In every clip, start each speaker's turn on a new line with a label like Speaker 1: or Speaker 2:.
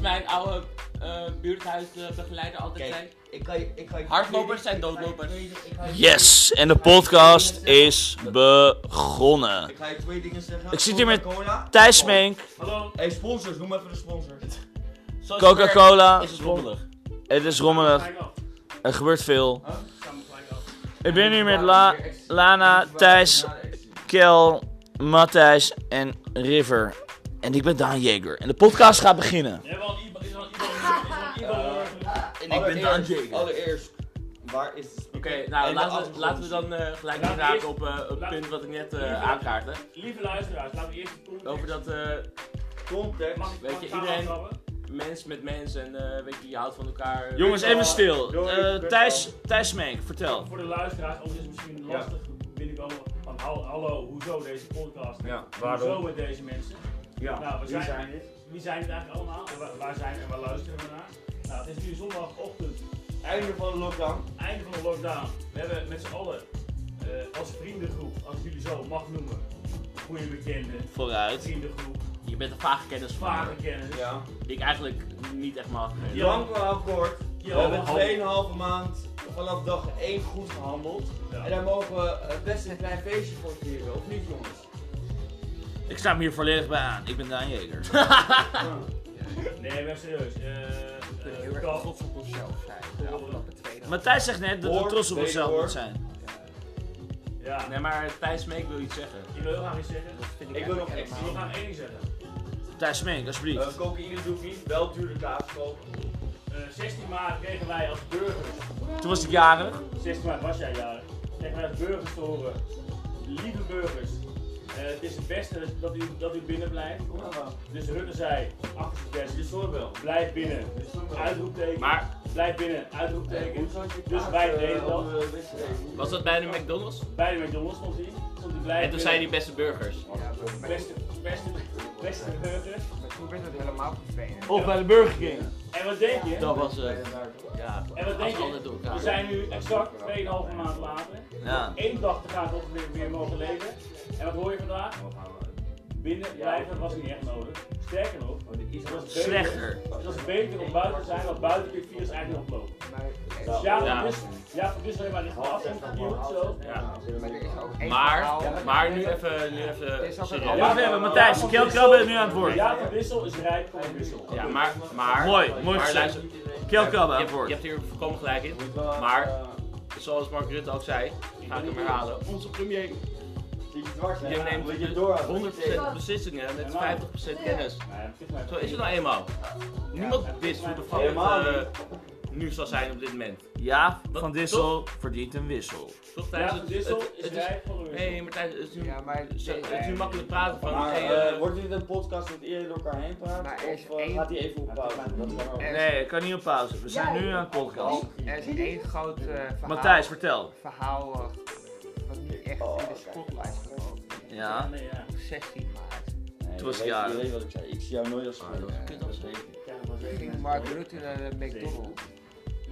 Speaker 1: mijn oude eh, buurthuisbegeleider altijd
Speaker 2: Kijk,
Speaker 1: zei.
Speaker 2: ik kan je, ik kan je-
Speaker 1: Hardlopers zijn
Speaker 2: ik ga je-
Speaker 1: doodlopers.
Speaker 2: ik ga je- ik ga je-
Speaker 3: Yes, en de podcast is begonnen.
Speaker 2: Ik ga je twee dingen zeggen.
Speaker 3: Ik zit hier met
Speaker 2: Coca-Cola.
Speaker 3: Thijs Meenk,
Speaker 1: Hallo.
Speaker 2: Hey, sponsors, noem even de sponsors.
Speaker 1: Zoals
Speaker 3: Coca-Cola,
Speaker 1: Is het rommelig?
Speaker 3: het is rommelig, er gebeurt veel.
Speaker 2: Huh?
Speaker 3: Ik ben hier met La, Lana, Thijs, Kel, Matthijs en River. En ik ben Daan Jeger. En de podcast gaat beginnen.
Speaker 1: Is wel iemand? Is wel iemand?
Speaker 2: En
Speaker 3: ik ben Daan Jager.
Speaker 2: Allereerst, waar is de speaker?
Speaker 1: Oké,
Speaker 2: En
Speaker 1: nou laten
Speaker 2: de
Speaker 1: we,
Speaker 2: achtergrond.
Speaker 1: laten we dan eh, gelijk
Speaker 4: Laten we eerst-
Speaker 1: inraken op eh, het
Speaker 4: laten-
Speaker 1: punt wat ik net eh,
Speaker 4: Lieve-
Speaker 1: aankaartte.
Speaker 4: Lieve luisteraars, laten we eerst de context-
Speaker 1: Over dat eh,
Speaker 4: Mag
Speaker 2: Context.
Speaker 4: ik
Speaker 1: Weet
Speaker 4: mag
Speaker 1: je,
Speaker 4: ik gaan
Speaker 1: iedereen-
Speaker 4: aftrappen?
Speaker 1: mens met mens en eh, weet je, je houdt van elkaar.
Speaker 3: Jongens, even stil.
Speaker 2: Doei,
Speaker 3: Eh,
Speaker 2: kut
Speaker 3: Thijs, Thijs Meenk, vertel.
Speaker 4: Voor de luisteraars, anders is het misschien
Speaker 2: Ja.
Speaker 4: lastig. Weet ik wel. Van hal- hallo, hoezo deze podcast?
Speaker 2: Ja,
Speaker 4: Hoezo met deze mensen?
Speaker 2: Ja,
Speaker 4: Nou, we
Speaker 2: wie
Speaker 4: zijn-
Speaker 2: zijn dit?
Speaker 4: Wie zijn het eigenlijk allemaal? En waar, waar zijn we en waar luisteren we naar? Nou, het is nu zondagochtend,
Speaker 2: Einde van de lockdown.
Speaker 4: einde van de lockdown. We hebben met z'n allen eh, als vriendengroep, als ik jullie zo mag noemen, goede bekenden,
Speaker 3: Vooruit.
Speaker 4: vriendengroep,
Speaker 1: Je bent een vage kennis van
Speaker 4: vage
Speaker 1: me,
Speaker 4: kennis.
Speaker 2: Ja.
Speaker 1: die ik eigenlijk niet echt mag. eh,
Speaker 4: Ja.
Speaker 2: Drankenakkoord. We
Speaker 4: Ja,
Speaker 2: hebben
Speaker 4: hallo.
Speaker 2: 2,5 maand vanaf dag 1 goed gehandeld.
Speaker 4: Ja.
Speaker 2: En daar mogen we eh, best een klein feestje voor vieren, of niet jongens?
Speaker 3: Ik sta hem hier volledig bij aan. Ik ben Daan Jeger.
Speaker 4: Nee, maar serieus. eh, eh,
Speaker 5: Ik ben heel erg
Speaker 4: Kal-
Speaker 5: trots op onszelf zijn de afgelopen twee dagen.
Speaker 3: Matthijs zegt net dat we
Speaker 2: Hoor,
Speaker 3: trots op
Speaker 2: tweede
Speaker 3: onszelf
Speaker 2: hoor.
Speaker 3: moeten zijn.
Speaker 4: Ja,
Speaker 1: Nee, maar Thijs Meek wil iets zeggen.
Speaker 4: ik wil heel graag iets zeggen.
Speaker 5: Dat vind ik,
Speaker 2: Ik wil nog
Speaker 5: eigenlijk
Speaker 4: Ik wil graag één ding zeggen.
Speaker 3: Thijs Meenk, alsjeblieft.
Speaker 2: Eh, cocaïne doe ik niet, wel dure kaas kopen.
Speaker 4: Eh, 16 maart kregen wij als burgers,
Speaker 3: Toen was ik jarig.
Speaker 4: 16 maart was jij jarig, kregen wij als burgers te horen, lieve burgers, eh, het is het beste dat u, dat u binnen blijft. Dus Rutte zei, achter de desk,
Speaker 2: Dit soort wel.
Speaker 4: blijf binnen, uitroepteken,
Speaker 1: Maar
Speaker 4: blijf binnen,
Speaker 5: Eh,
Speaker 4: uitroepteken. Dus wij
Speaker 2: eh,
Speaker 4: deden dat.
Speaker 1: was dat bij de McDonald's?
Speaker 4: Bij de McDonald's stond hij, stond hij blijf
Speaker 1: En toen
Speaker 4: binnen.
Speaker 1: zei hij beste burgers.
Speaker 5: Ja, maar-
Speaker 4: beste, beste, beste burgers.
Speaker 5: maar toen werd het helemaal verdwenen.
Speaker 3: Of bij de Burger King.
Speaker 4: En wat denk je?
Speaker 1: Dat was eh ja,
Speaker 4: En wat denk
Speaker 1: als altijd
Speaker 4: je?
Speaker 1: door
Speaker 4: We
Speaker 1: elkaar.
Speaker 4: zijn nu exact 2,5 maand later.
Speaker 3: Ja.
Speaker 4: Eén dag te gaan tot we weer, weer mogen leven. En wat hoor je vandaag? Binnen blijven was niet echt nodig. Sterker nog, het
Speaker 1: Oh,
Speaker 4: was beter,
Speaker 3: Slechter.
Speaker 4: Het was beter om buiten te zijn dan buiten dit virus eigenlijk oploopt.
Speaker 5: Maar,
Speaker 4: Dus ja,
Speaker 1: Ja.
Speaker 4: Dus, ja, dus alleen maar richting afstand van hier zo.
Speaker 1: Ja.
Speaker 5: maar er is ook één verhaal-
Speaker 1: Maar, maar nu even, nu even
Speaker 5: Is dat een-
Speaker 1: serieus.
Speaker 3: Wacht even,
Speaker 1: Eh.
Speaker 3: Matthijs. Kel Krabbe is nu aan het woord.
Speaker 4: Ja, van Wissel is rijk voor Wissel.
Speaker 1: Ja, maar, maar.
Speaker 3: Mooi, mooi
Speaker 1: maar
Speaker 3: gezegd.
Speaker 1: luister, je
Speaker 2: eh,
Speaker 3: Kel Krabbe aan het
Speaker 1: hebt- je
Speaker 3: woord.
Speaker 1: hebt hier voorkomen gelijk in. Maar, zoals Mark Rutte ook zei, ga ik hem herhalen. Onze premier
Speaker 2: Die dwars
Speaker 1: die neemt
Speaker 2: Moet je
Speaker 1: de
Speaker 2: door.
Speaker 1: 100% beslissingen met 50% kennis. Zo is het nou eenmaal. Niemand wist hoe de fuck het eh, nu zal zijn op dit moment.
Speaker 3: Jaap
Speaker 1: Wat?
Speaker 3: van Dissel verdient een wissel.
Speaker 1: Toch
Speaker 4: Ja,
Speaker 1: tijdens het,
Speaker 4: van
Speaker 1: het,
Speaker 4: Wissel
Speaker 1: het
Speaker 4: is
Speaker 1: is...
Speaker 4: rijk voor
Speaker 1: Hé, hey,
Speaker 4: Wissel.
Speaker 1: Martijn, het is nu,
Speaker 5: Ja, maar,
Speaker 1: zo- het is nu makkelijk praten van...
Speaker 2: Maar
Speaker 1: hey,
Speaker 2: eh,
Speaker 1: eh,
Speaker 2: wordt dit een podcast met eerder door elkaar heen praten?
Speaker 5: Maar er is
Speaker 2: of eh,
Speaker 5: één-
Speaker 2: gaat hij even op pauze? Dat kan ook.
Speaker 5: Er-
Speaker 3: Nee, ik kan niet op pauze. We zijn nu aan het podcast.
Speaker 5: er is één groot eh, Oh, verhaal.
Speaker 3: Matthijs, vertel.
Speaker 5: Verhaal eh, wat niet echt in de spotlight gekomen is.
Speaker 3: Ja.
Speaker 4: Nee, ja.
Speaker 5: Op 16 maart
Speaker 2: Nee,
Speaker 3: Het was
Speaker 2: je weet-
Speaker 3: jaren.
Speaker 2: je weet wat ik zei. Ik zie jou nooit als schuldig.
Speaker 5: kut
Speaker 2: Dat weet ik.
Speaker 4: Ja, maar zeker.
Speaker 5: ging Mark Rutte naar de McDonald's.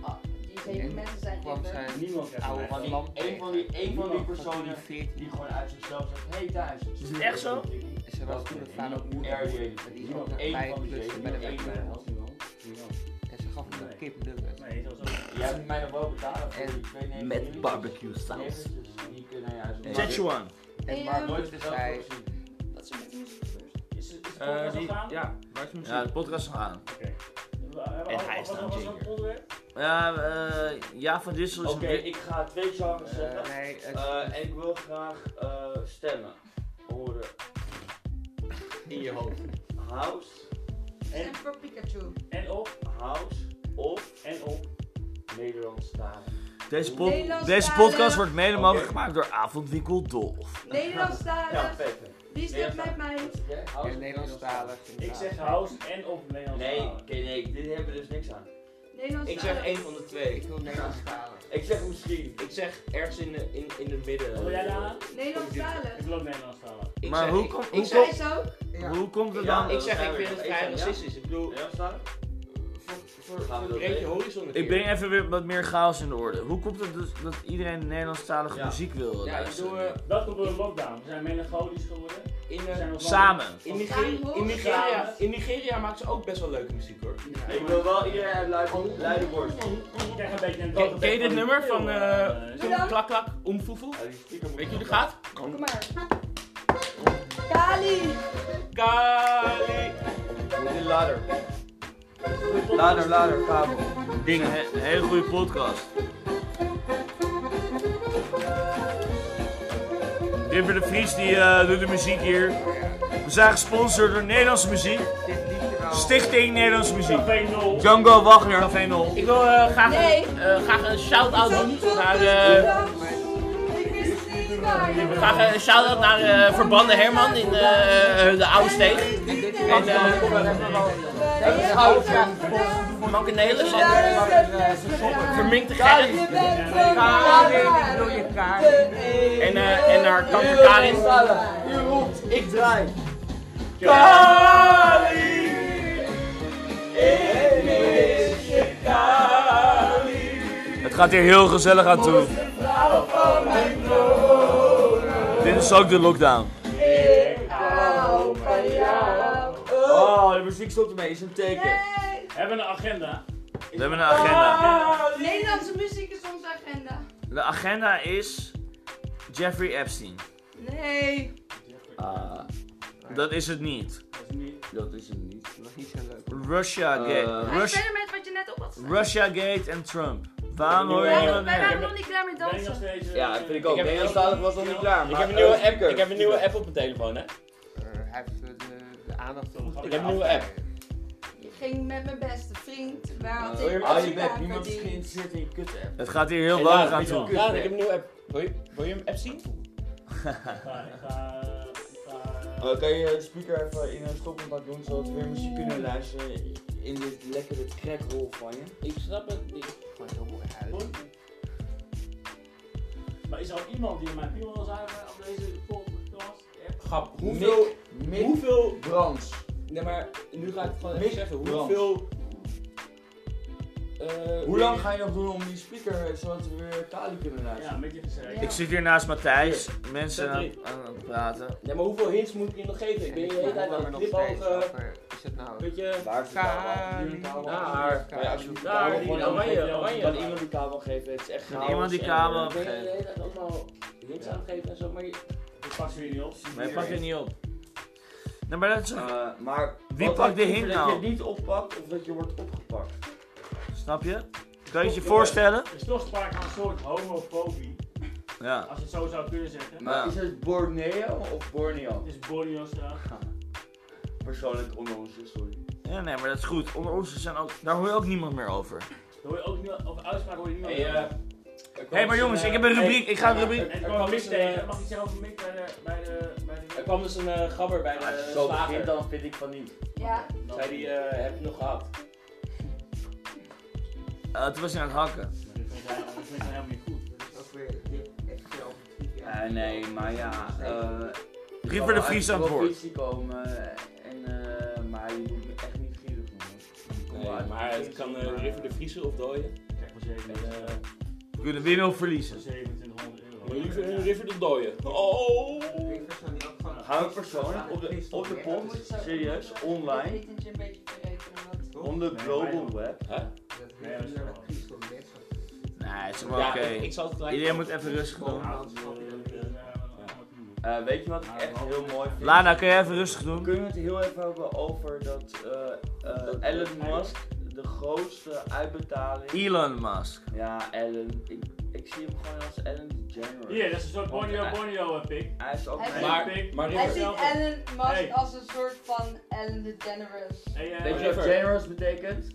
Speaker 6: Ah, die zeven mensen zijn
Speaker 5: Kwam
Speaker 6: kippen.
Speaker 5: zijn
Speaker 4: Niemand krijgt
Speaker 5: oude
Speaker 4: een
Speaker 5: man lam
Speaker 2: Eén van die, één van die personen die
Speaker 5: veertien
Speaker 2: gewoon uit zichzelf zegt, hey Thijs.
Speaker 3: Is het echt zo?
Speaker 5: Ze was toen de vader op moeder.
Speaker 2: RJ.
Speaker 5: En die
Speaker 2: Die
Speaker 5: is ook
Speaker 2: nog
Speaker 5: nog bij
Speaker 2: één
Speaker 5: het
Speaker 2: van die
Speaker 5: klussen
Speaker 2: zeven.
Speaker 5: bij de
Speaker 2: één eh, van
Speaker 5: McDonald's.
Speaker 2: die wel.
Speaker 5: En ze gaf hem een kip nugget.
Speaker 4: Nee, dat was ook
Speaker 2: Jij hebt mij nog wel betalen voor die twee neven
Speaker 3: Met
Speaker 2: jullie.
Speaker 3: barbecue saus.
Speaker 2: Neventjes, dus Die kunnen juist
Speaker 5: Nee.
Speaker 3: Szechuan.
Speaker 5: En
Speaker 6: Hey,
Speaker 5: Mark
Speaker 6: ehm,
Speaker 2: nooit
Speaker 5: Rutte
Speaker 2: verteld
Speaker 5: zei... eh,
Speaker 2: gezien.
Speaker 6: Wat is er met muziek gebeurd?
Speaker 4: Is het, is het
Speaker 1: eh,
Speaker 4: podcast al
Speaker 1: die-
Speaker 4: gaande?
Speaker 1: ja, waar is de muziek?
Speaker 3: Ja, de podcast is nog aan.
Speaker 4: En
Speaker 3: hij is dan
Speaker 4: Was er
Speaker 3: zeker.
Speaker 4: een onderwerp?
Speaker 3: Ja, eh, Jaap van Dissel is
Speaker 2: Oké,
Speaker 3: een wi-
Speaker 2: ik ga twee genres
Speaker 5: eh,
Speaker 2: zeggen.
Speaker 5: Nee, het-
Speaker 2: Eh, en ik wil graag eh, stemmen horen. In je hoofd. House,
Speaker 4: En,
Speaker 6: En voor Pikachu.
Speaker 4: en op,
Speaker 2: house of
Speaker 4: en op.
Speaker 2: Nederlandstalig.
Speaker 3: Deze, pod-
Speaker 6: Nederlandstalig.
Speaker 3: deze podcast wordt mede mogelijk
Speaker 2: Oké.
Speaker 3: gemaakt door Avondwinkel Dolf.
Speaker 2: Ja,
Speaker 6: Nederlandstalig,
Speaker 2: vet.
Speaker 6: wie is dit met mij?
Speaker 2: Jij? House
Speaker 5: in
Speaker 2: of
Speaker 5: Nederlandstalig.
Speaker 4: Ik
Speaker 5: inderdaad.
Speaker 4: zeg house en op Nederlands.
Speaker 2: Nee, oké, nee, dit hebben we dus niks aan. Ik zeg
Speaker 6: Nederlandstalig.
Speaker 2: één van de
Speaker 5: Ik
Speaker 2: twee.
Speaker 5: wil Nederlandstalig.
Speaker 2: Ik zeg misschien.
Speaker 1: Ik zeg ergens in, de- in, in het midden.
Speaker 4: Wil jij daar aan?
Speaker 6: Nederlandstalig.
Speaker 4: Ik wil ook Nederlands talen.
Speaker 1: Ik
Speaker 3: Maar
Speaker 1: zeg-
Speaker 3: hoe
Speaker 1: ik-
Speaker 3: kom-
Speaker 1: ik
Speaker 3: hoe
Speaker 1: zeg-
Speaker 6: Zij is ook.
Speaker 5: Ja.
Speaker 3: Hoe komt het
Speaker 2: Ja,
Speaker 3: dan?
Speaker 1: Ik zeg, ik vind het
Speaker 2: Ik
Speaker 1: vrij
Speaker 2: zeg, ja.
Speaker 1: racistisch. Ik bedoel,
Speaker 2: Nederlandstalig?
Speaker 5: Voor,
Speaker 2: Gaan we dat
Speaker 1: breed je
Speaker 2: doen?
Speaker 1: horizon een
Speaker 3: Ik
Speaker 1: keer.
Speaker 3: breng even weer wat meer chaos in de orde. Hoe komt het dus dat iedereen Nederlandstalige
Speaker 2: Ja.
Speaker 3: muziek wil
Speaker 1: Ja, ik
Speaker 3: luisteren?
Speaker 1: bedoel, eh,
Speaker 4: Dat komt door de lockdown. We zijn melancholisch geworden.
Speaker 1: in,
Speaker 4: We
Speaker 1: eh,
Speaker 4: zijn nog wel-
Speaker 3: Samen.
Speaker 1: in, Nigeria, in, Nigeria, in Nigeria maken ze ook best wel leuke muziek hoor.
Speaker 2: Ik wil wel iedereen uit
Speaker 1: Oh.
Speaker 2: Luiden- Luidenborg.
Speaker 4: Ik krijg een beetje een
Speaker 1: Ken, ken je dit nummer van eh
Speaker 4: Eh,
Speaker 1: zo'n klak klak omfoefoe?
Speaker 2: Ja, die stiekem moet
Speaker 1: Weet je hoe
Speaker 2: ik
Speaker 1: die gaat?
Speaker 6: Kom maar. Kali!
Speaker 1: Kali.
Speaker 2: Oh. nog- Moet in Lader. Lader, lader, kabel.
Speaker 3: Ding, he- een hele goede podcast. River de Vries die eh, doet de muziek hier. We zijn gesponsord door Nederlandse Muziek. Stichting Nederlandse Muziek.
Speaker 4: Café 0.
Speaker 3: Django Wagner. Café Nol.
Speaker 1: Ik wil eh, graag,
Speaker 6: Nee.
Speaker 1: eh, graag een shout-out doen naar... eh,
Speaker 6: Ik wist het niet waar.
Speaker 1: graag een shout-out naar eh, Verbanden Herman in eh, eh, de Oude Steeg. En
Speaker 6: Dat is oud, ja. Je
Speaker 1: Mankenelis en
Speaker 6: bent
Speaker 1: Verminkte Gerrit.
Speaker 6: van Karin. Ik bedoel je Karin.
Speaker 1: En, eh, en haar kanker Karin.
Speaker 2: U roept, ik draai.
Speaker 3: Het gaat hier heel gezellig aan toe. Dit is ook de lockdown.
Speaker 2: Oh, de muziek stopt ermee, is een teken.
Speaker 4: Hebben we een agenda?
Speaker 3: We hebben een agenda.
Speaker 6: Nederlandse muziek is onze agenda.
Speaker 3: De agenda is Jeffrey Epstein.
Speaker 6: Nee.
Speaker 2: Ah,
Speaker 3: Dat is het niet.
Speaker 2: dat is hem niet.
Speaker 5: Niet zo leuk.
Speaker 3: Russia Gate.
Speaker 2: Eh.
Speaker 6: Ga je
Speaker 3: Rus-
Speaker 6: verder met wat je net op had staan.
Speaker 3: Russia Gate en Trump. Waarom
Speaker 1: Oh,
Speaker 3: hoor je
Speaker 6: Wij
Speaker 3: niemand
Speaker 6: wij
Speaker 3: meer?
Speaker 6: waren nog niet klaar met
Speaker 4: Ben je nog
Speaker 6: dansen.
Speaker 4: steeds... eh,
Speaker 2: Ja, dat vind ik ook.
Speaker 1: Ik heb-
Speaker 2: Nederlandstalig was nog niet klaar.
Speaker 1: Ik
Speaker 2: maar,
Speaker 1: heb een nieuwe
Speaker 2: eh,
Speaker 1: app, ik heb een nieuwe app op mijn telefoon hè.
Speaker 5: Eh, hij heeft eh, de, de aandacht van
Speaker 4: Ik
Speaker 1: heb een nieuwe app.
Speaker 6: Je ging met mijn beste vriend. Waar had
Speaker 2: Hoor Oh, je hem?
Speaker 6: ik
Speaker 2: Hou je
Speaker 6: actie
Speaker 2: bek,
Speaker 6: aan
Speaker 2: niemand is
Speaker 6: verdiend?
Speaker 2: geïnteresseerd in je kut-app.
Speaker 3: Het gaat hier heel
Speaker 1: En
Speaker 3: warm
Speaker 1: Daan,
Speaker 3: aan
Speaker 1: ik wil-
Speaker 3: toe.
Speaker 1: Daan, ik heb een nieuwe app. Wil je, wil je hem app zien?
Speaker 4: Ik ga... Ik ga... ik
Speaker 1: Oh.
Speaker 4: ga-
Speaker 2: Eh, kan je de speaker even in een stopcontact doen, zodat we weer muziek kunnen luisteren in dit lekkere crackrol van je?
Speaker 1: Ik snap het niet.
Speaker 5: gewoon heel mooi uit.
Speaker 4: Maar is er ook iemand die mijn piemel wil zuigen op deze podcast? app?
Speaker 1: Grap.
Speaker 2: Hoeveel, Mick,
Speaker 1: hoeveel...
Speaker 2: Brands.
Speaker 1: Nee maar, nu ga ik het gewoon
Speaker 2: Mick
Speaker 1: even zeggen.
Speaker 2: Brands.
Speaker 1: Hoeveel... eh,
Speaker 2: Hoe lang ga je nog doen om die speaker, eh, zodat we weer Kali kunnen luisteren?
Speaker 4: Ja, met je gezegd.
Speaker 3: Ik zit hier naast Matthijs. Mensen aan,
Speaker 1: Drie.
Speaker 3: aan het praten.
Speaker 1: Nee maar hoeveel hints moet ik je nog geven? Ik ben je de hele tijd aan het knipogen.
Speaker 5: Is het nou...
Speaker 1: Weet je...
Speaker 2: Waar is de kabel?
Speaker 5: Kali.
Speaker 2: Hier een kabel.
Speaker 1: Daar.
Speaker 2: Oh
Speaker 1: Oh,
Speaker 2: Ja, als je die
Speaker 1: Daar,
Speaker 2: kabel
Speaker 1: die
Speaker 2: gewoon
Speaker 1: oranje,
Speaker 2: aangeeft,
Speaker 1: oranje.
Speaker 2: Kan iemand die kabel geven? Het is echt
Speaker 3: Kan
Speaker 2: chaos
Speaker 3: iemand die
Speaker 2: en-
Speaker 3: kabel
Speaker 1: Ik ben je de
Speaker 3: geven?
Speaker 1: hele tijd allemaal hints aan het geven en zo, maar je...
Speaker 4: Ik pak ze weer niet op.
Speaker 3: Maar hij pakt het niet op. Nee, maar dat is...
Speaker 1: Ah.
Speaker 2: Eh, maar
Speaker 3: Wie
Speaker 2: wat
Speaker 3: pakt
Speaker 2: ik
Speaker 3: de
Speaker 2: hoop
Speaker 3: hint
Speaker 2: Dat
Speaker 3: nou?
Speaker 2: je het niet oppakt of dat je wordt opgepakt.
Speaker 3: Snap je? Kan je het je voorstellen?
Speaker 4: Er is toch sprake van een soort homofobie,
Speaker 3: Ja.
Speaker 4: als je het zo zou kunnen zeggen.
Speaker 2: Maar
Speaker 3: Ja.
Speaker 2: is het Borneo of Borneo?
Speaker 4: Het is Borneo-straat.
Speaker 2: Persoonlijk onder ons, sorry.
Speaker 3: ja. Nee, maar dat is goed. Onder ons zijn ook... Daar hoor je ook niemand meer over.
Speaker 4: Daar hoor je ook niet over uitspraak hoor je niet meer.
Speaker 1: Hey, eh, er kwam
Speaker 3: Hé, maar
Speaker 1: dus
Speaker 3: jongens,
Speaker 1: eh,
Speaker 3: ik heb een
Speaker 1: hey,
Speaker 3: rubriek. Ik ga een
Speaker 1: ja,
Speaker 3: rubriek...
Speaker 4: en ik
Speaker 1: er
Speaker 4: kwam
Speaker 1: kwam
Speaker 4: een mik
Speaker 1: dus een,
Speaker 4: tegen.
Speaker 1: eh,
Speaker 4: Mag ik zeggen over mik bij de... Bij de, bij de
Speaker 1: er kwam dus een eh, gabber bij de
Speaker 2: Als je
Speaker 1: uh,
Speaker 2: zo begint,
Speaker 1: slager.
Speaker 2: dan vind ik van niet.
Speaker 6: Ja.
Speaker 4: Dan-
Speaker 1: Zei die, eh, heb je nog gehad?
Speaker 3: Eh, toen was hij aan het hakken.
Speaker 4: Dat vind ik eigenlijk- dat vind ik helemaal niet goed.
Speaker 5: Dat is ook weer dit echt over drie jaar.
Speaker 2: Eh, nee, maar ja. eh
Speaker 3: Rieper de Vries aan het woord.
Speaker 2: provincie komen en eh, maar je moet me echt niet gierig noemen.
Speaker 1: Nee, maar het kan eh, de River de Vriezer of dooien.
Speaker 4: Ik krijg maar zeker
Speaker 1: En, eh,
Speaker 3: We kunnen winnen of verliezen.
Speaker 4: 2700 euro.
Speaker 1: maar liever een River de dooien. Oh!
Speaker 5: Ik vind het niet ook van...
Speaker 2: Hou ik persoonlijk op de, op de pont, serieus, online,
Speaker 6: Ik een beetje verrekenen, want...
Speaker 2: on the global web.
Speaker 1: Huh?
Speaker 5: Dat weet je wel, dat kiest om best wel.
Speaker 3: Nee, het is
Speaker 1: Ja,
Speaker 3: maar oké.
Speaker 1: ik, ik zal het gelijk...
Speaker 3: Iedereen moet even rustig
Speaker 5: Gewoon
Speaker 3: doen.
Speaker 5: alles wat hij ook wil.
Speaker 2: Eh, weet je wat ik echt heel mooi vind?
Speaker 3: Lana, kun jij even rustig doen?
Speaker 2: Kunnen we het heel even hebben over dat eh, eh, Elon Musk de grootste uitbetaling...
Speaker 3: Elon Musk.
Speaker 2: Ja, Ellen. Ik, ik zie hem gewoon als Ellen DeGeneres.
Speaker 4: Hier, dat is een soort Borneo Borneo eh, pik.
Speaker 2: Hij is ook
Speaker 6: Hij-
Speaker 2: mijn...
Speaker 1: Maar,
Speaker 4: River-
Speaker 1: maar
Speaker 6: Hij
Speaker 1: River...
Speaker 6: ziet Ellen Musk
Speaker 4: Hey.
Speaker 6: als een soort van Ellen DeGeneres.
Speaker 2: Oh,
Speaker 4: Hey, eh,
Speaker 2: Weet je wat
Speaker 1: River.
Speaker 2: generous betekent?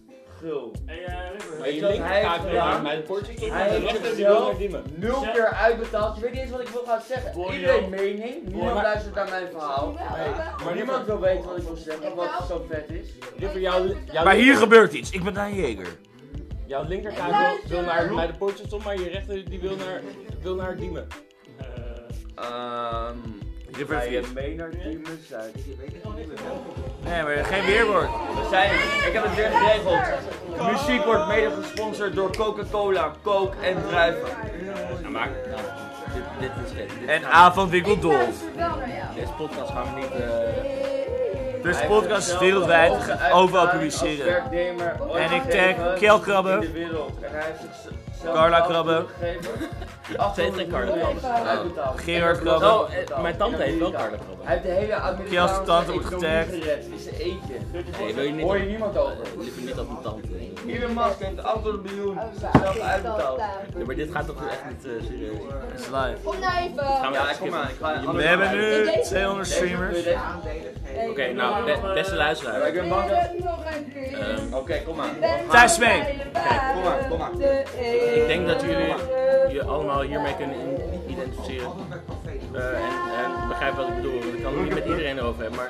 Speaker 2: Gul.
Speaker 4: hey, eh, River.
Speaker 1: Maar je
Speaker 2: Weet je wat hij
Speaker 1: linker gaat
Speaker 2: heeft
Speaker 1: weer
Speaker 2: gedaan?
Speaker 1: maar de kortje komt
Speaker 2: Hij
Speaker 1: en de
Speaker 2: heeft
Speaker 1: rechter die
Speaker 2: zichzelf-
Speaker 1: wil naar Diemen.
Speaker 2: Nul
Speaker 4: Zeg-
Speaker 2: keer uitbetaald. Je weet niet eens wat ik wil gaan zeggen.
Speaker 4: Borneo.
Speaker 2: Iedereen mening. Niemand
Speaker 1: maar-
Speaker 2: luistert naar mijn verhaal.
Speaker 6: Wel,
Speaker 1: Nee.
Speaker 6: wel.
Speaker 2: Maar niemand wil weten wat ik wil zeggen, wat zo vet is.
Speaker 1: River, jouw, jouw,
Speaker 3: Maar hier gebeurt iets. Ik ben Daan Jeger.
Speaker 1: jouw linkerkaart
Speaker 6: Luister.
Speaker 1: wil, wil naar bij de poortjes om, maar je rechter die wil naar, wil naar Diemen.
Speaker 4: Eh,
Speaker 2: Ehm...
Speaker 1: River
Speaker 2: Bij
Speaker 1: Vries.
Speaker 2: een Maynard team moet zijn.
Speaker 3: Nee, maar geen weerwoord.
Speaker 2: We zijn, ik heb het weer geregeld. Muziek wordt mede gesponsord door Coca-Cola, Coke en druiven.
Speaker 1: Nou, maak.
Speaker 2: Dit, dit is geen. dit
Speaker 3: En
Speaker 2: gaan we-
Speaker 3: avondwinkel Dolf.
Speaker 6: Wel naar jou.
Speaker 2: Deze podcast gaan we niet. eh
Speaker 3: Dus podcast is wereldwijd ge- overal publiceren. En ik tag Kjell Krabbe. Carla Krabbe.
Speaker 1: Ze heeft geen Carla Krabbe.
Speaker 3: Gerard Krabbe.
Speaker 2: Oh,
Speaker 1: Oh, eh, mijn tante heeft wel Carla Krabbe.
Speaker 2: Hij heeft de hele Amerikaanse
Speaker 3: Kjell's tante wordt
Speaker 2: economie
Speaker 3: getagd.
Speaker 2: gered. Is er eentje.
Speaker 1: Nee, wil je niet
Speaker 2: Hoor
Speaker 1: dat-
Speaker 2: je niemand over.
Speaker 1: liever niet dat mijn tante. Nee,
Speaker 2: Elon Musk heeft de antwoord miljoen
Speaker 6: Oh, zo.
Speaker 2: zelf uitbetaald.
Speaker 1: maar dit gaat toch echt niet eh, serieus.
Speaker 3: It's live.
Speaker 6: Kom nou
Speaker 1: Gaan
Speaker 6: even.
Speaker 1: we
Speaker 2: Ja,
Speaker 1: even
Speaker 2: kom maar, ik ga-
Speaker 1: skippen.
Speaker 3: We hebben nu 200 streamers.
Speaker 1: Oké, nou, be- beste luisteraar.
Speaker 2: Ik ben bang dat-
Speaker 6: Ehm,
Speaker 2: Oké, kom maar.
Speaker 3: Thijs mee.
Speaker 6: Kijk, kom maar, kom maar.
Speaker 1: Ik denk dat jullie je allemaal hiermee kunnen in- identificeren. Eh, en, en begrijp wat ik bedoel. want Ik kan het niet met iedereen over hebben. Maar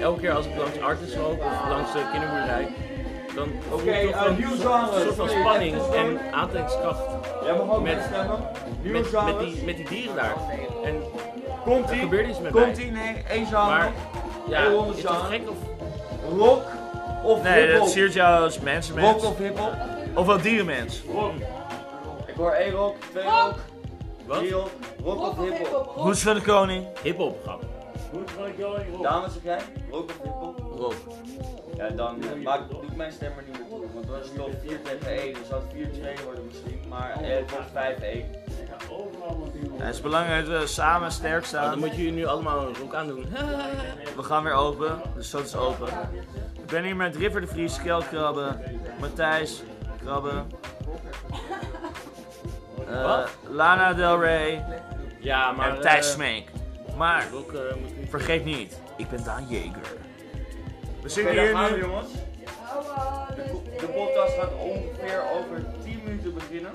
Speaker 1: elke keer als ik langs artis loop of langs de kinderboerderij, dan voel
Speaker 2: Oké,
Speaker 1: ik toch
Speaker 2: eh,
Speaker 1: een
Speaker 2: nieuw
Speaker 1: soort-
Speaker 2: genre.
Speaker 1: soort van spanning en aantrekkingskracht
Speaker 2: Jij mag ook
Speaker 1: Met-
Speaker 2: meestemmen. Nieuwe
Speaker 1: met, met,
Speaker 2: genres.
Speaker 1: die, met die dieren daar. En
Speaker 2: Komt
Speaker 1: er
Speaker 2: ie?
Speaker 1: gebeurt iets met
Speaker 2: Komt
Speaker 1: mij.
Speaker 2: ie? Nee, één
Speaker 1: Maar
Speaker 2: genre.
Speaker 1: ja,
Speaker 2: Honderd
Speaker 1: is het
Speaker 2: jaar.
Speaker 1: gek of
Speaker 2: Rock of
Speaker 3: Nee, dat
Speaker 2: hip-hop?
Speaker 3: siert jou als mensenmens.
Speaker 2: Rock of hip-hop?
Speaker 3: Of wel dierenmens.
Speaker 2: Ik hoor één rock, twee rock,
Speaker 1: wat?
Speaker 2: drie rock. Rock of hip-hop?
Speaker 3: Hoes van de koning.
Speaker 1: Hip-hop grap.
Speaker 4: Goed van de koning Rob.
Speaker 2: Dames zeg jij? Rock of hip-hop?
Speaker 1: Rob.
Speaker 2: Ja, dan eh, maak, doet mijn stem er niet meer toe. Want dan is het toch 4 tegen 1. Dus dat 4-2 worden misschien. Maar eh, het wordt 5-1.
Speaker 4: Ja, overal wat die
Speaker 3: Ja, het is belangrijk dat we samen sterk
Speaker 1: Nou, dan
Speaker 3: staan.
Speaker 1: moet je nu allemaal een rok aandoen.
Speaker 3: We gaan weer open, dus dat is open. Ik ben hier met River de Vries, Kjell Krabbe, Matthijs Krabbe. eh,
Speaker 1: Wat?
Speaker 3: Lana Del Rey
Speaker 1: Ja, maar...
Speaker 3: en Thijs
Speaker 1: eh,
Speaker 3: Smeek. Maar
Speaker 1: Rok eh, moet niet...
Speaker 3: vergeet niet, ik ben Daan Jeger. We
Speaker 2: Oké,
Speaker 3: zitten
Speaker 2: daar
Speaker 3: hier
Speaker 2: gaan we,
Speaker 3: nu.
Speaker 2: jongens. De podcast gaat ongeveer over 10 minuten beginnen.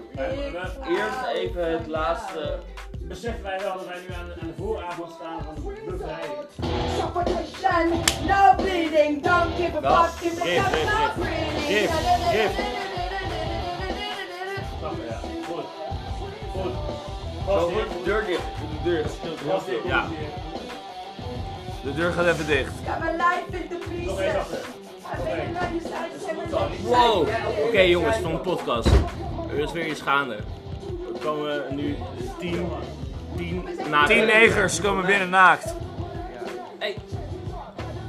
Speaker 2: Eerst even het laatste.
Speaker 4: Beseffen wij wel dat wij nu aan, aan de vooravond staan van de bevrijding.
Speaker 6: No bleeding, don't give a
Speaker 1: Wel,
Speaker 6: fuck if
Speaker 1: geef, geef,
Speaker 6: not
Speaker 1: geef.
Speaker 6: breathing.
Speaker 1: Geef, geef.
Speaker 4: Grappig, ja. Goed. Goed.
Speaker 2: Zo
Speaker 4: Gast
Speaker 2: wordt de
Speaker 4: hier.
Speaker 2: deur dicht. Doe de deur. Stil, stil,
Speaker 4: Gast
Speaker 2: stil.
Speaker 4: hier.
Speaker 1: Ja.
Speaker 4: komt hier.
Speaker 3: De deur gaat even dicht.
Speaker 6: Got my life in the pieces.
Speaker 4: Nog even achter.
Speaker 6: I've been in my side, seven days.
Speaker 1: Wow! Oké jongens, van de podcast. Er is weer iets gaande. Er komen nu 10, 10 na.
Speaker 3: Tien negers komen binnen naakt.
Speaker 1: Hey.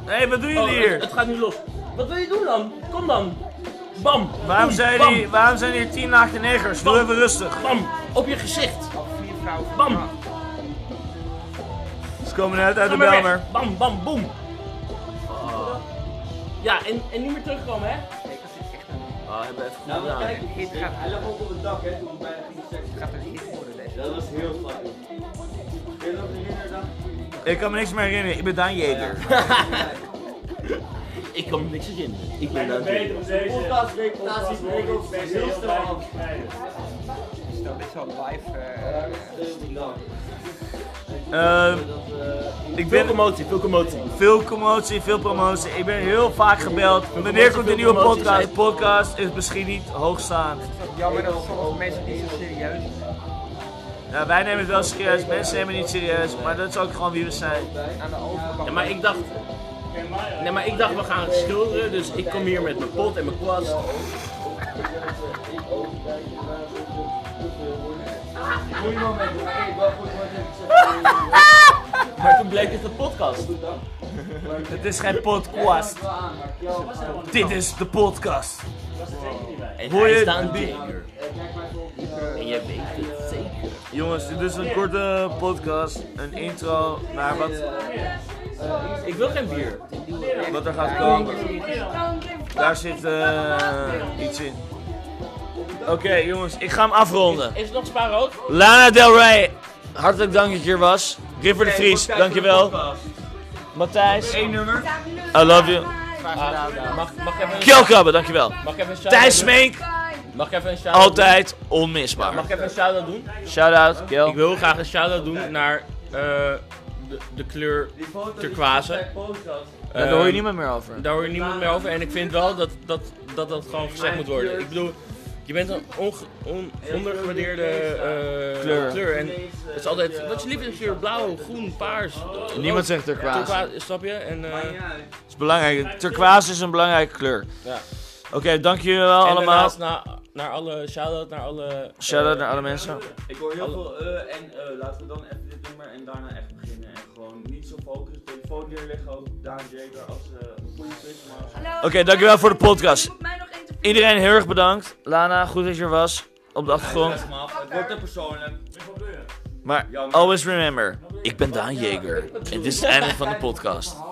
Speaker 3: Hé, hey, wat doen
Speaker 1: Oh,
Speaker 3: jullie
Speaker 1: het,
Speaker 3: hier?
Speaker 1: het gaat nu los. Wat wil je doen dan? Kom dan! Bam!
Speaker 3: Waarom
Speaker 1: Doei,
Speaker 3: zijn,
Speaker 1: bam.
Speaker 3: die, waarom zijn hier tien naakte negers? Doe even rustig.
Speaker 1: Bam! Op je gezicht!
Speaker 5: Vier vrouwen.
Speaker 1: Bam!
Speaker 3: Ze komen net uit
Speaker 1: Ga
Speaker 3: de
Speaker 1: maar weg.
Speaker 3: Belmer.
Speaker 1: Bam, bam, boom! Ja, en, en niet meer terugkomen hè? Ah, hebben we even goed
Speaker 2: Nou, maar
Speaker 1: gedaan.
Speaker 2: kijk, hij lag ook op het dak, hè, toen we bijna gingen seksen.
Speaker 5: Gaat er niet in worden, deze.
Speaker 2: Dat was heel spannend. Ken je dat nog herinneren dan?
Speaker 3: Ik kan me niks meer herinneren, ik ben Daan Jeger.
Speaker 1: Ik kan me niks herinneren. Ik ben
Speaker 4: En dat
Speaker 1: daar
Speaker 4: beter op deze.
Speaker 2: Podcast reputatie regels
Speaker 4: Best heel
Speaker 2: heel snel
Speaker 4: blij
Speaker 2: af.
Speaker 4: met de bevrijding.
Speaker 5: Stel, dit is al live. eh,
Speaker 3: Ehm,
Speaker 1: eh,
Speaker 3: ik
Speaker 1: Veel
Speaker 3: ben
Speaker 1: commotie, veel commotie.
Speaker 3: veel commotie, veel promotie. Ik ben heel vaak gebeld. Wanneer
Speaker 1: commotie,
Speaker 3: komt de
Speaker 1: veel
Speaker 3: nieuwe
Speaker 1: promotie,
Speaker 3: podcast?
Speaker 1: zei-
Speaker 3: De podcast is misschien niet hoogstaand.
Speaker 5: Jammer dat sommige mensen niet zo serieus zijn.
Speaker 3: Ja, wij nemen het wel serieus, mensen nemen het niet serieus. Maar dat is ook gewoon wie we zijn.
Speaker 5: Aan de overkant.
Speaker 1: Ja, maar ik dacht,
Speaker 4: Ken mij, hè?
Speaker 1: nee, maar ik dacht we gaan schilderen, dus ik kom hier met mijn pot en mijn kwast.
Speaker 2: Goeie moment, hoor. Hey, wel goed, wat heb ik gezegd?
Speaker 1: Maar toen bleek het een podcast.
Speaker 3: Het is geen podcast. Dit is de podcast.
Speaker 4: Dat is het zeker niet bij.
Speaker 1: En
Speaker 3: Hoor
Speaker 1: hij
Speaker 3: je
Speaker 1: staat
Speaker 3: die-
Speaker 1: zeker. En jij weet het zeker.
Speaker 3: Jongens, dit is een korte podcast. Een intro naar wat,
Speaker 1: Ik wil geen bier.
Speaker 3: wat er gaat komen.
Speaker 6: Don't give a fuck
Speaker 3: Daar zit eh, iets in. Oké jongens, ik ga hem afronden.
Speaker 1: Is het nog spaarrood?
Speaker 3: Lana Del Rey, hartelijk dank dat je hier was. River de Vries,
Speaker 2: Oké,
Speaker 3: dankjewel.
Speaker 2: podcast.
Speaker 3: Matthijs,
Speaker 2: Eén nummer.
Speaker 3: I love you.
Speaker 1: Mag, mag ik even een
Speaker 3: Kjell Krabbe, dankjewel.
Speaker 1: Mag ik even een shout-out
Speaker 3: Thijs
Speaker 1: doen?
Speaker 3: Smeenk,
Speaker 1: Mag ik even een shout-out
Speaker 3: altijd
Speaker 1: doen? Mag
Speaker 3: onmisbaar.
Speaker 1: ik even een shout-out doen?
Speaker 3: Shout-out,
Speaker 1: Ik
Speaker 3: Kjell.
Speaker 1: wil graag een shout-out doen naar eh, de, de kleur.
Speaker 2: Die foto die
Speaker 1: Turquoise. Ehm,
Speaker 2: bij post had.
Speaker 3: Daar hoor je niemand meer over.
Speaker 1: Daar hoor je niemand meer over. En ik vind wel dat dat, dat, dat gewoon gezegd moet worden. Ik bedoel, Je bent een onge- on- ondergewaardeerde eh,
Speaker 3: Kleur.
Speaker 1: En
Speaker 2: eh,
Speaker 1: het is altijd, wat is je lievelingskleur? Blauw, groen, paars.
Speaker 3: Niemand zegt turquoise.
Speaker 1: Turquoise, snap je? En, eh,
Speaker 3: Het is belangrijk. Turquoise is een belangrijke kleur.
Speaker 1: Ja.
Speaker 3: Oké, dank jullie wel
Speaker 1: en
Speaker 3: allemaal.
Speaker 1: daarnaast na, naar alle, shout-out naar alle...
Speaker 3: Shout-out
Speaker 1: eh,
Speaker 3: naar alle mensen.
Speaker 2: Ik hoor heel veel eh en eh. Laten we dan even dit nummer en daarna echt beginnen. En gewoon niet zo focussen. Telefoon neerleggen ook. Daan Jager als eh, een goede quiz. Maar...
Speaker 6: Hallo.
Speaker 3: Oké, dankjewel voor de podcast.
Speaker 6: Je moet mij nog interviewen.
Speaker 3: Iedereen heel erg bedankt. Lana, goed dat je er was. Op de achtergrond.
Speaker 2: Leg me af. Het wordt te persoonlijk.
Speaker 3: Maar
Speaker 2: Jammer.
Speaker 3: always remember, ik ben Daan Jeger. En dit is het einde van de podcast.